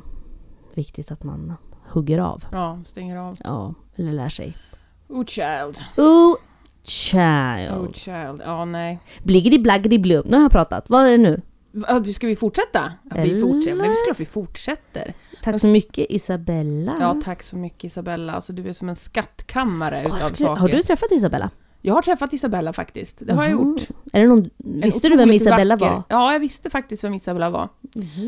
viktigt att man hugger av. Ja, stänger av. Ja, eller lär sig. Oh child, Ooh, oh child. child. Ja, nej. Bliggidi blaggidi blub. Nu har jag pratat. Vad är det nu? Va, Ska vi fortsätta? Ja, vi fortsätter. Men Eller? det är klart vi fortsätter. Tack så mycket Isabella. Ja, tack så mycket Isabella. Alltså, du är som en skattkammare Åh, utav jag skulle, saker. har du träffat Isabella? Jag har träffat Isabella faktiskt. Det har jag Mhm. gjort. Är det någon, En visste du vem otroligt Isabella vacker- var? Ja, jag visste faktiskt vem Isabella var.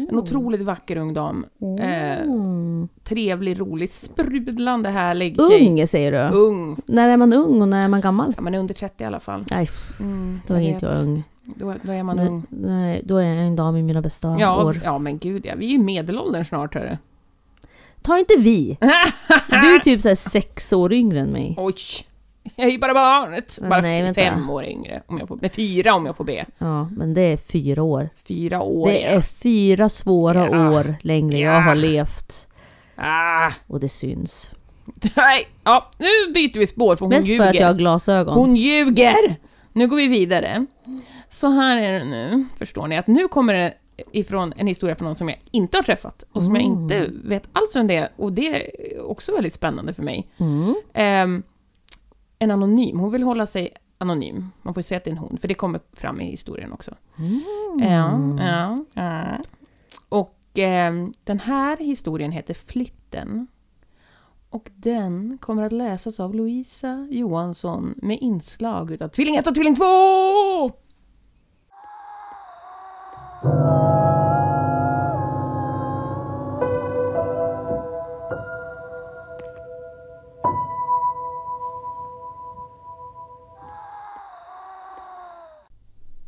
En otroligt vacker ung dam. Eh, Mm. trevlig, rolig, sprudlande härlig tjej. Ung säger du? Ung. När är man ung och när är man gammal? Ja, men under 30 i alla fall. Nej, Mm, då är jag inte vet. jag ung. Då, då är man ung. Nej, då är jag en dam i mina bästa Ja, år. ja, men gud ja. Vi är ju medelåldern snart hörru. Ta inte vi! Du är typ så här sex år yngre än mig. Oj! Jag är ju bara barnet. Men Bara nej, f- vänta. fem år yngre. Om jag får, nej, fyra om jag får be. Ja, men det är fyra år. Fyra år. Det ja. är fyra svåra Ja. år längre jag har Ja. levt. Ah, Och det syns. nej. Ja, nu byter vi spår för hon Mest ljuger. för att jag har glasögon. Hon ljuger! Nu går vi vidare. Så här är det nu, förstår ni, att nu kommer det ifrån en historia från någon som jag inte har träffat och som jag Mm. inte vet alls vem det är och det är också väldigt spännande för mig. Mm. Ehm, en anonym, hon vill hålla sig anonym. Man får ju säga att det är en hon, för det kommer fram i historien också. Mm. Mm. Ja, ja, ja. Och ehm, den här historien heter Flytten. Och den kommer att läsas av Louisa Johansson med inslag utav Tvilling 1 och Tvilling 2!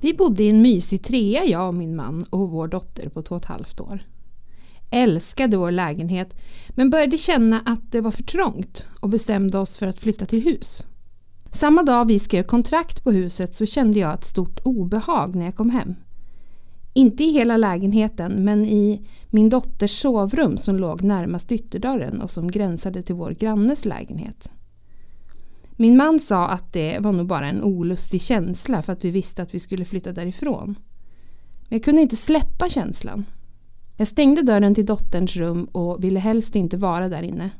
Vi bodde i en mysig trea jag och min man och vår dotter på två och ett halvt år. Älskade vår lägenhet men började känna att det var för trångt och bestämde oss för att flytta till hus. Samma dag vi skrev kontrakt på huset så kände jag ett stort obehag när jag kom hem. Inte i hela lägenheten men i min dotters sovrum som låg närmast ytterdörren och som gränsade till vår grannes lägenhet. Min man sa att det var nog bara en olustig känsla för att vi visste att vi skulle flytta därifrån. Men jag kunde inte släppa känslan. Jag stängde dörren till dotterns rum och ville helst inte vara där inne.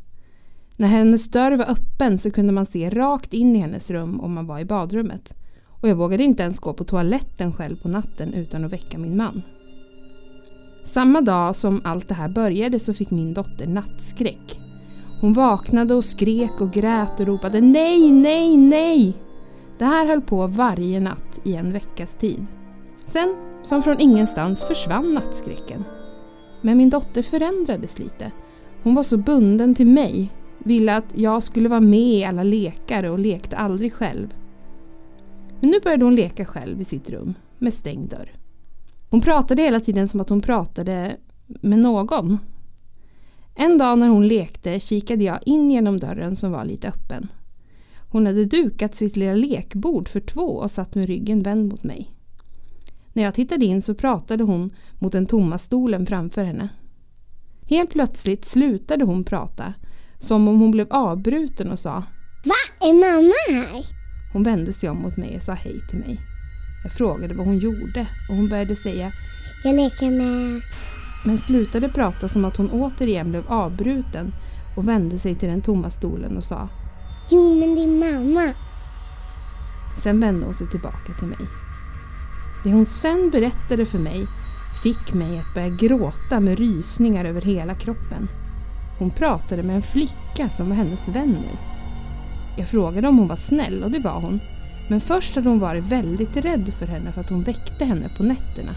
När hennes dörr var öppen så kunde man se rakt in i hennes rum om man var i badrummet. Och jag vågade inte ens gå på toaletten själv på natten utan att väcka min man. Samma dag som allt det här började så fick min dotter nattskräck. Hon vaknade och skrek och grät och ropade nej, nej, nej. Det här höll på varje natt i en veckas tid. Sen, som från ingenstans, försvann nattskräcken. Men min dotter förändrades lite. Hon var så bunden till mig, ville att jag skulle vara med i alla lekar och lekte aldrig själv. Men nu började hon leka själv i sitt rum, med stängd dörr. Hon pratade hela tiden som att hon pratade med någon. En dag när hon lekte kikade jag in genom dörren som var lite öppen. Hon hade dukat sitt lilla lekbord för två och satt med ryggen vänd mot mig. När jag tittade in så pratade hon mot den tomma stolen framför henne. Helt plötsligt slutade hon prata, som om hon blev avbruten och sa Va? Är mamma här? Hon vände sig om mot mig och sa hej till mig. Jag frågade vad hon gjorde och hon började säga Jag leker med... men slutade prata som att hon återigen blev avbruten och vände sig till den tomma stolen och sa Jo, men din mamma. Sen vände hon sig tillbaka till mig. Det hon sen berättade för mig fick mig att börja gråta med rysningar över hela kroppen. Hon pratade med en flicka som var hennes vän nu. Jag frågade om hon var snäll och det var hon. Men först hade hon varit väldigt rädd för henne för att hon väckte henne på nätterna.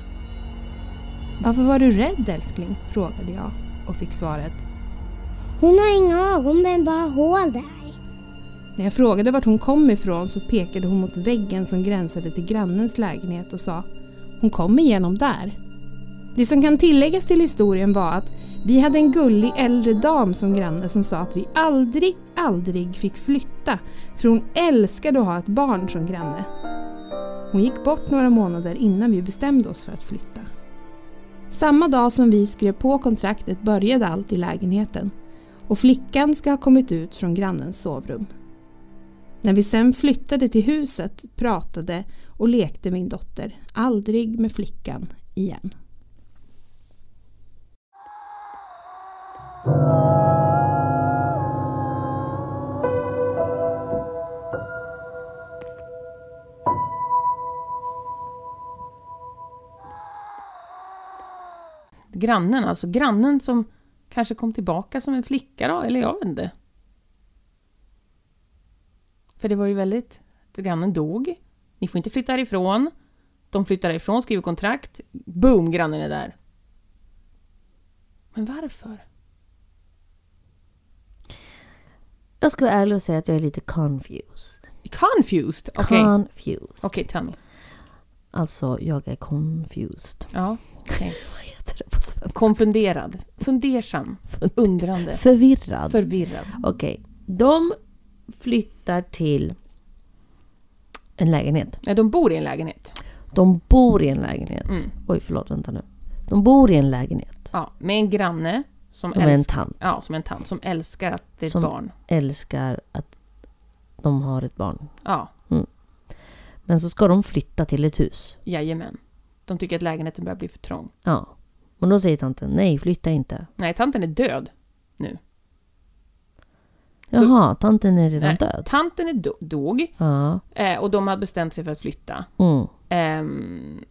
Varför var du rädd älskling? frågade jag och fick svaret Hon har inga ögon, men bara hål där. När jag frågade vart hon kom ifrån så pekade hon mot väggen som gränsade till grannens lägenhet och sa Hon kom igenom där. Det som kan tilläggas till historien var att vi hade en gullig äldre dam som granne som sa att vi aldrig, aldrig fick flytta för hon älskade att ha ett barn som granne. Hon gick bort några månader innan vi bestämde oss för att flytta. Samma dag som vi skrev på kontraktet började allt i lägenheten och flickan ska ha kommit ut från grannens sovrum. När vi sen flyttade till huset pratade och lekte min dotter aldrig med flickan igen. Grannen alltså, grannen som kanske kom tillbaka som en flicka då, eller jag vet inte. För det var ju väldigt... Grannen dog. Ni får inte flytta härifrån. De flyttar härifrån, skriver kontrakt. Boom, grannen är där. Men varför? Jag ska vara ärlig och säga att jag är lite confused. Confused? Okej, okej, Confused. tell me. Alltså, jag är confused. Ja. Vad heter det på svenska? Konfunderad. Fundersam. Undrande. Förvirrad. Förvirrad. Okej. De flyttar till en lägenhet. Nej, de bor i en lägenhet. De bor i en lägenhet. Mm. Oj, förlåt. Vänta nu. De bor i en lägenhet. Ja, med en granne som, De är en älsk- tant. ja, som, en tant, som älskar att det är ett Som- barn. Älskar att de har ett barn. Ja, Men så ska de flytta till ett hus. jajamän. De tycker att lägenheten börjar bli för trång. Ja. Men då säger tanten, nej flytta inte. Nej, tanten är död. Jaha, tanten är redan Nej, död. Tanten är do- dog Ja. eh, och de har bestämt sig för att flytta. Mm. Ehm,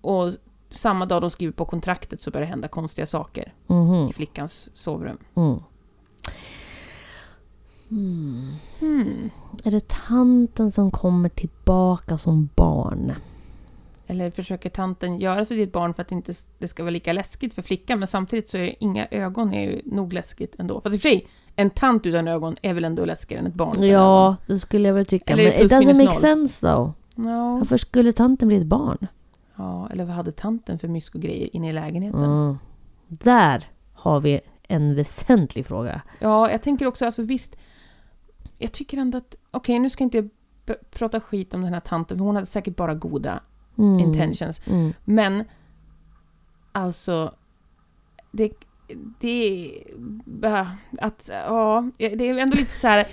och samma dag de skriver på kontraktet så börjar det hända konstiga saker i Mhm. flickans sovrum. Mm. Hmm. Är det tanten som kommer tillbaka som barn? Eller försöker tanten göra sig till ett barn för att inte s- det ska vara lika läskigt för flickan, men samtidigt så är det inga ögon är ju nog läskigt ändå. Fast i och för sig, en tant utan ögon är väl ändå läskigare än ett barn utan Ja, det skulle jag väl tycka. Eller Men är det it plus doesn't minus make sense though. ögon. Ja. Varför skulle tanten bli ett barn? ja, eller vad hade tanten för mysko grejer inne i lägenheten? Mm. Där har vi en väsentlig fråga. Ja, jag tänker också, alltså visst, jag tycker ändå att, okej nu ska jag inte b- prata skit om den här tanten, för hon hade säkert bara goda Mm. intentions. Mm. Men, alltså, det, det, äh, att, ja, det är ändå lite så här.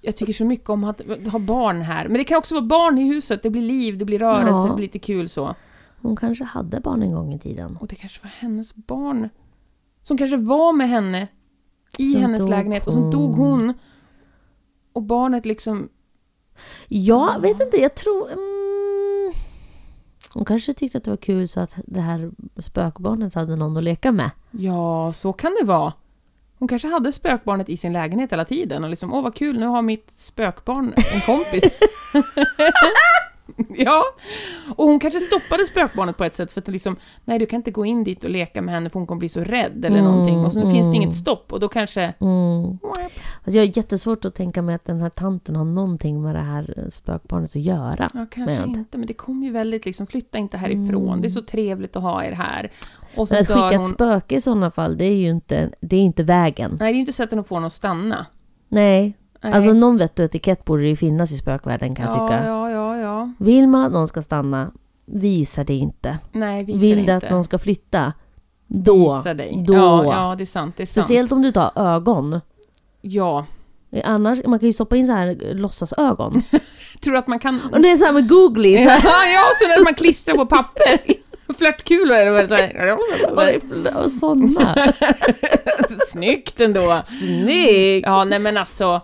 Jag tycker så mycket om att ha barn här. Men det kan också vara barn i huset. Det blir liv, det blir rörelse, Ja. det blir lite kul så. Hon kanske hade barn en gång i tiden. Och det kanske var hennes barn som kanske var med henne i Sen hennes dog lägenhet och sen dog hon. Och barnet liksom... Jag vet inte, jag tror... Mm, hon kanske tyckte att det var kul så att det här spökbarnet hade någon att leka med. Ja, så kan det vara. Hon kanske hade spökbarnet i sin lägenhet hela tiden och liksom åh vad kul, nu har mitt spökbarn en kompis. ja, och hon kanske stoppade spökbarnet på ett sätt för att liksom nej du kan inte gå in dit och leka med henne för hon kommer bli så rädd eller Mm, någonting och så nu finns det mm. inget stopp och då kanske... Mm. Alltså jag har jättesvårt att tänka mig att den här tanten har någonting med det här spökbarnet att göra. Ja, kanske Men- inte, men det kom ju väldigt liksom, flytta inte härifrån, det är så trevligt att ha er här. Och så Mm. Men att dör skicka hon... ett spöke i sådana fall, det är ju inte, det är inte vägen. Nej, det är ju inte sättet att få henne att stanna. Nej. Nej. Alltså någon vett och etikett borde det ju finnas i spökvärlden kan jag ja, tycka. ja, ja, ja. Vill man att någon ska stanna, Visa det inte. Nej, visa Vill det du inte. att någon ska flytta? Då. Visa dig. Då. Ja, ja, det är sant. Det är sant. Speciellt om du tar ögon. Ja. Annars, man kan ju stoppa in så här eh, låtsasögon. Tror du att man kan... Och det är så här med googly. Så Ja, här. ja, så där man klistrar på papper. Flörtkulor eller vad det Och det är. är sådana. Snyggt ändå. Snyggt! Ja, nej men alltså.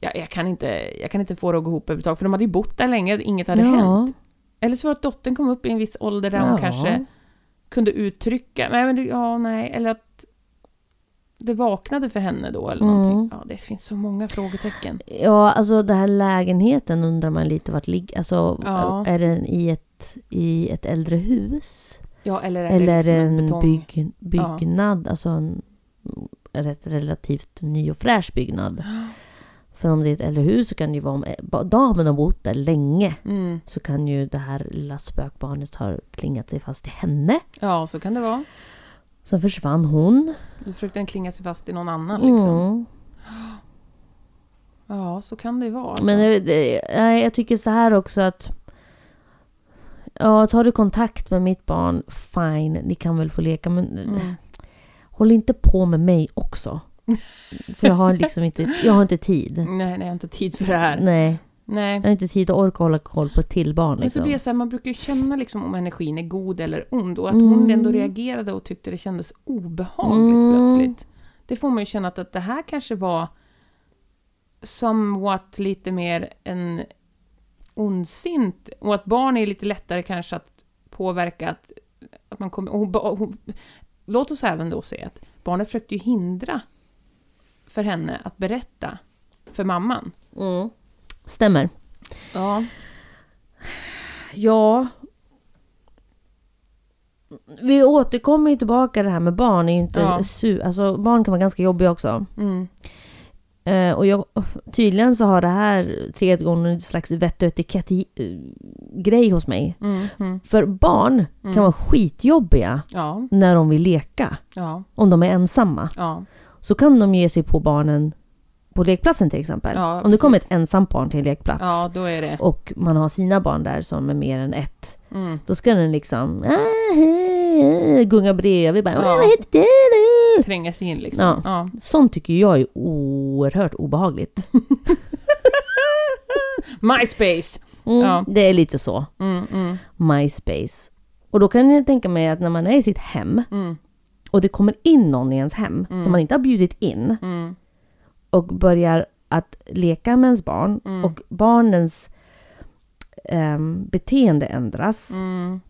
Jag, jag, kan inte, jag kan inte få det att gå ihop överhuvudtaget, för de hade ju bott där länge, inget hade hänt. Eller så var det att dottern kom upp i en viss ålder där hon Ja. kanske kunde uttrycka, nej men det- ja, nej, eller att det vaknade för henne då eller Mm. någonting. Ja, det finns så många frågetecken. Ja, alltså den här lägenheten undrar man lite vart ligger. Alltså, Ja. är den i ett, i ett äldre hus? Ja, eller är det Eller är det liksom en en betong? bygg, byggnad? Alltså en en rätt relativt ny och fräsch byggnad. För om det är ett äldre hus så kan det ju vara om eh, ba- damen har bott där länge Mm. så kan ju det här lilla spökbarnet ha klingat sig fast i henne. Ja, så kan det vara. Sen försvann hon. Då försökte den klinga sig fast i någon annan liksom. Mm. Ja, så kan det vara. Alltså. Men jag, det- nej, jag tycker så här också att... Ja, tar du kontakt med mitt barn, fine, ni kan väl få leka men Mm. håll inte på med mig också. För jag har liksom inte, jag har inte tid. Nej, nej, jag har inte tid för det här. Nej, Nej. jag har inte tid att orka hålla koll på ett till barn Men så blir liksom. jag så här, man brukar ju känna liksom om energin är god eller ond och att Mm. hon ändå reagerade och tyckte det kändes obehagligt Mm. plötsligt. Det får man ju känna att, att det här kanske var somewhat lite mer en ondsint och att barn är lite lättare kanske att påverka att, att man kommer... Och hon, ba- och hon, låt oss även då säga att barnet försökte ju hindra för henne att berätta för mamman. Mm. Stämmer. Ja. Ja. Vi återkommer ju tillbaka det här med barn är ju inte Ja. su- alltså barn kan vara ganska jobbiga också. Mm. Eh, och jag, tydligen så har det här trädgården en slags vett och etikett-grej hos mig. Mm. Mm. För barn kan vara skitjobbiga Ja, när de vill leka. ja, Om de är ensamma. ja. Så kan de ge sig på barnen på lekplatsen till exempel. Ja, om det precis. kommer ett ensamt barn till en lekplats Ja, då är det. och man har sina barn där som är mer än ett. Mm. Då ska den liksom "Ah, hej, gunga bredvid. Bara, Ja. "Vad heter du?" Tränga sig in liksom. Ja. Ja. Sånt tycker jag är oerhört obehagligt. MySpace! Mm, Ja. Det är lite så. Mm, mm, MySpace. Och då kan jag tänka mig att när man är i sitt hem mm, och det kommer in någon i ens hem som man inte har bjudit in mm, och börjar att leka med ens barn Mm. och barnens ehm, beteende ändras. mm.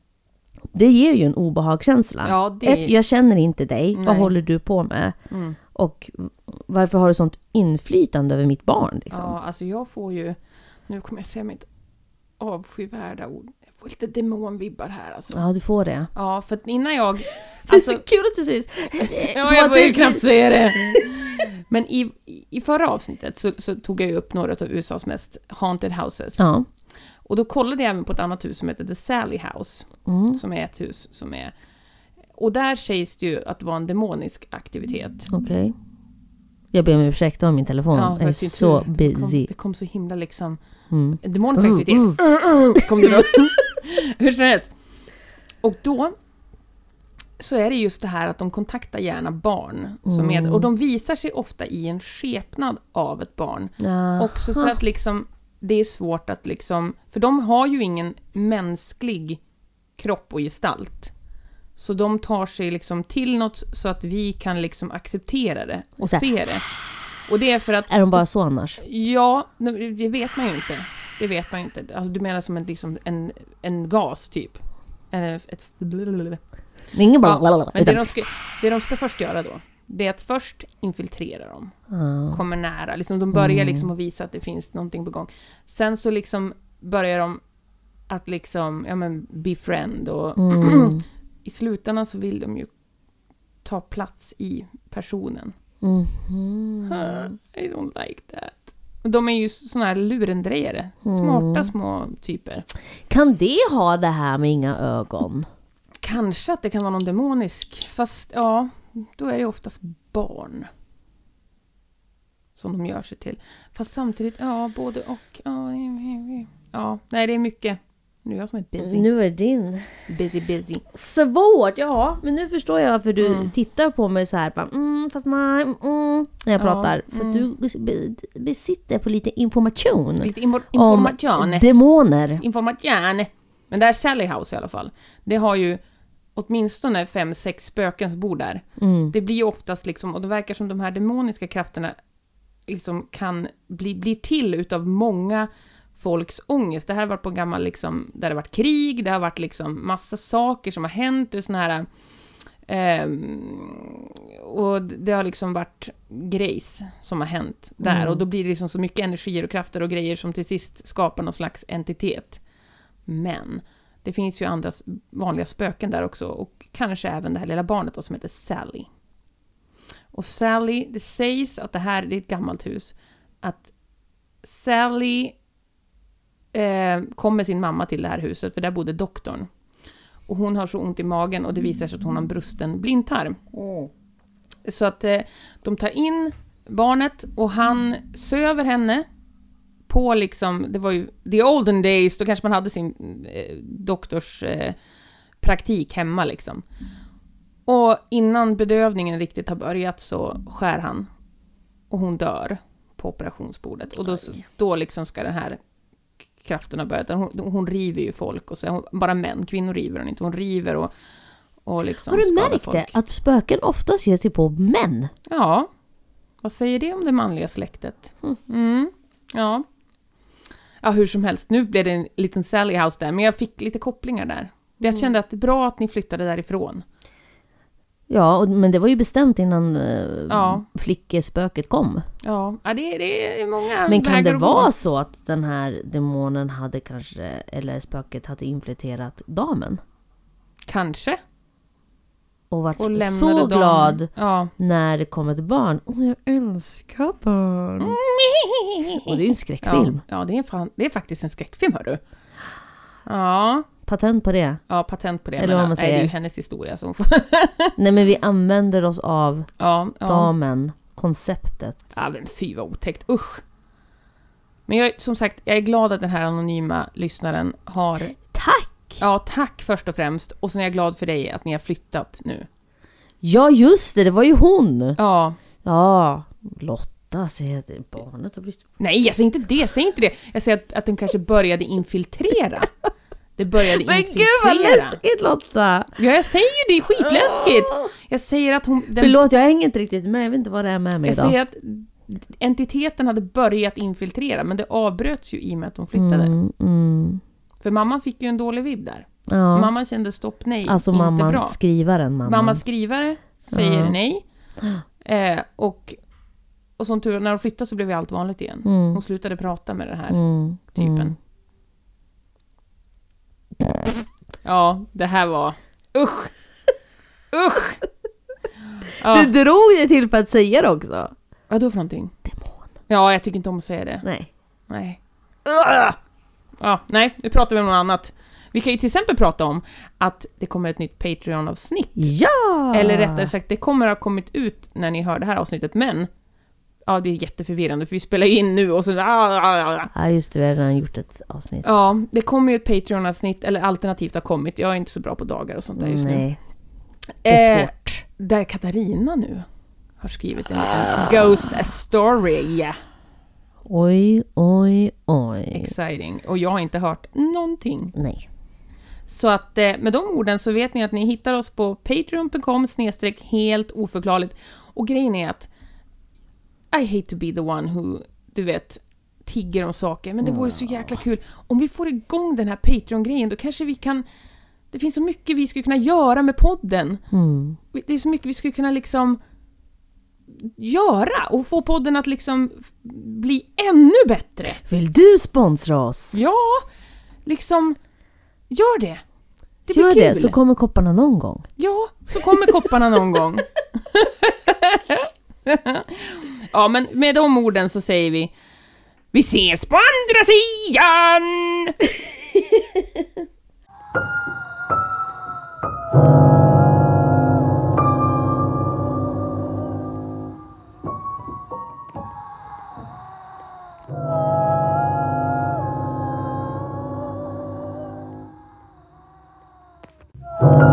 Det ger ju en obehagskänsla. Ja, det... Ett, jag känner inte dig, vad Nej. håller du på med? Mm. Och varför har du sånt inflytande över mitt barn? Liksom? Ja, alltså jag får ju... Nu kommer jag säga mitt avskyvärda ord. Jag får lite demonvibbar här alltså. Ja, du får det. Ja, för att innan jag... Det är så Alltså- kul att du säger Ja, Som jag att får ju det- knappt säga det. Men i, i förra avsnittet så, så tog jag ju upp några av USAs mest haunted houses. Ja. Och då kollade jag även på ett annat hus som heter The Sally House. Mm. som är ett hus som är... Och där sägs det ju att det var en demonisk aktivitet. Okej. Jag ber om ursäkt om min telefon. Ja, för jag Mm. är att det typ så inte- busy. Det kom, det kom så himla liksom... Mm. En demonisk aktivitet. Mm, kom det då. Hur som helst. Och då så är det just det här att de kontaktar gärna barn. Som Mm. är, och de visar sig ofta i en skepnad av ett barn. Ja. Också för att liksom, det är svårt att liksom... För de har ju ingen mänsklig kropp och gestalt. Så de tar sig liksom till något så att vi kan liksom acceptera det och Så här. se det. Och det är för att... Är de bara så annars? Ja, nu- det vet man ju inte. Det vet man ju inte. Alltså, du menar som en, liksom, en, en gas, typ? En, ett, Det är ingen bara... ja, men det, utan, de ska, det de ska först göra då, det är att först infiltrera dem ja. Mm. kommer nära. Liksom, de börjar liksom att visa att det finns någonting på gång. Sen så liksom börjar de att liksom, ja men, befriend och Mm. i slutändan så vill de ju ta plats i personen. Mhm. Huh, I don't like that. Och De är ju såna här lurendrejare. Mm. Smarta små typer. Kan det ha det här med inga ögon? Kanske att det kan vara någon demonisk, fast ja, då är det oftast barn. Som de gör sig till. Fast samtidigt, ja, både och. Ja, ja nej, det är mycket. Nu är jag som är busy. Nu är det din. Busy, busy. Mm. Svårt! Ja, men nu förstår jag varför du tittar på mig så här. Bara, mm, fast nej, mm, när jag Ja, pratar. För att du be- besitter på lite information. Lite infor- om information. demoner. Information. Men där Sally House i alla fall, det har ju åtminstone fem, sex spöken som bor där. Mm. Det blir ju oftast liksom, och det verkar som de här demoniska krafterna liksom kan bli, bli till utav många folks ångest. Det här har varit på en gammal liksom, där det har varit krig, det har varit liksom massa saker som har hänt, och såna här... ehm, och det har liksom varit grejs som har hänt där, och då blir det liksom så mycket energier och krafter och grejer som till sist skapar någon slags entitet. Men, det finns ju andra s- vanliga spöken där också, och kanske även det här lilla barnet då, som heter Sally. Och Sally, det sägs att det här det är ett gammalt hus. Att Sally eh, kom med sin mamma till det här huset, för där bodde doktorn. Och hon har så ont i magen och det visar sig att hon har en brusten blindtarm. Så att eh, de tar in barnet och han söver henne på liksom, det var ju the olden days, då kanske man hade sin eh, doktors eh, praktik hemma liksom. Och innan bedövningen riktigt har börjat så skär han. Och hon dör på operationsbordet. Och då, då liksom ska den här kraften ha börjat. Hon, hon river ju folk, och så, hon, bara män, kvinnor river hon inte. Hon river och, och liksom Har du skadar märkt folk. det? Att spöken oftast ger sig på män. Ja. Vad säger det om det manliga släktet? Mm. Ja. Ja, hur som helst. Nu blev det en liten Sally House där, men jag fick lite kopplingar där. Mm. Jag kände att det är bra att ni flyttade därifrån. Ja, och, men det var ju bestämt innan eh, Ja. flickespöket kom. Ja, ja det, det är många Men kan vägar det att gå. vara så att den här demonen hade kanske, eller spöket hade infiltrerat damen? Kanske. Och varit Och lämnade så dem. glad Ja. när det kom ett barn. Åh, jag älskar barn. Mm. Och det är ju en skräckfilm. Mm. Ja, ja det, är fan, det är faktiskt en skräckfilm, hördu. Ja, Patent på det. ja, patent på det. Eller men, vad man nej, Det är säger. ju hennes historia som får... Nej men vi använder oss av Ja, ja. damen, konceptet. Ja men fy vad otäckt, usch. Men jag, som sagt, jag är glad att den här anonyma lyssnaren har... Tack! Ja, tack först och främst. Och sen är jag glad för dig att ni har flyttat nu. Ja just det, det var ju hon! Ja. Ja, Lotta säger att barnet har blivit... Nej, jag säger inte det, jag säger inte det. Jag säger att, att den kanske började infiltrera. Det började infiltrera. Lotta! Ja, jag säger ju det, är skitläskigt! Jag säger att hon... Den, Förlåt, jag hänger inte riktigt med. Jag vet inte vad det är med mig jag idag. säger att entiteten hade börjat infiltrera, men det avbröts ju i och med att de flyttade. Mm, mm. För mamman fick ju en dålig vibb där. Ja. Mamman kände stopp, nej, alltså inte mamman, bra. skrivaren mamman. Mamma skrivare säger Ja. nej. Eh, och, och som tur var, när de flyttade så blev ju allt vanligt igen. Mm. Hon slutade prata med den här mm, typen. Mm. Ja, det här var... Usch! Usch! Du Ja, drog dig till på att säga det också! vadå för någonting? Demon. Ja, jag tycker inte om att säga det. Nej. Nej. Ja, nej, nu pratar vi om något annat. Vi kan ju till exempel prata om att det kommer ett nytt Patreon-avsnitt. Ja! Eller rättare sagt, det kommer ha kommit ut när ni hör det här avsnittet, men... Ja, det är jätteförvirrande, för vi spelar ju in nu och så... Ah, Ja just det, vi har redan gjort ett avsnitt. Ja, det kommer ju ett Patreon-avsnitt, eller alternativt har kommit. Jag är inte så bra på dagar och sånt där just nu. Nej, det är Eh, svårt. där Katarina nu har skrivit en liten Ghost Story. Oj, oj, oj. Exciting. Och jag har inte hört någonting. Nej. Så att eh, med de orden så vet ni att ni hittar oss på patreon.com snedstreck helt oförklarligt. Och grejen är att I hate to be the one who, du vet, tigger om saker, men det vore så jäkla kul. Om vi får igång den här Patreon-grejen, då kanske vi kan... Det finns så mycket vi skulle kunna göra med podden. Mm. Det är så mycket vi skulle kunna liksom göra och få podden att liksom f- bli ännu bättre. Vill du sponsra oss? Ja, liksom, gör det. Det blir Gör kul. det, så kommer kopparna någon gång. Ja, så kommer kopparna någon gång. ja, men med de orden så säger vi Vi ses på andra sidan! det.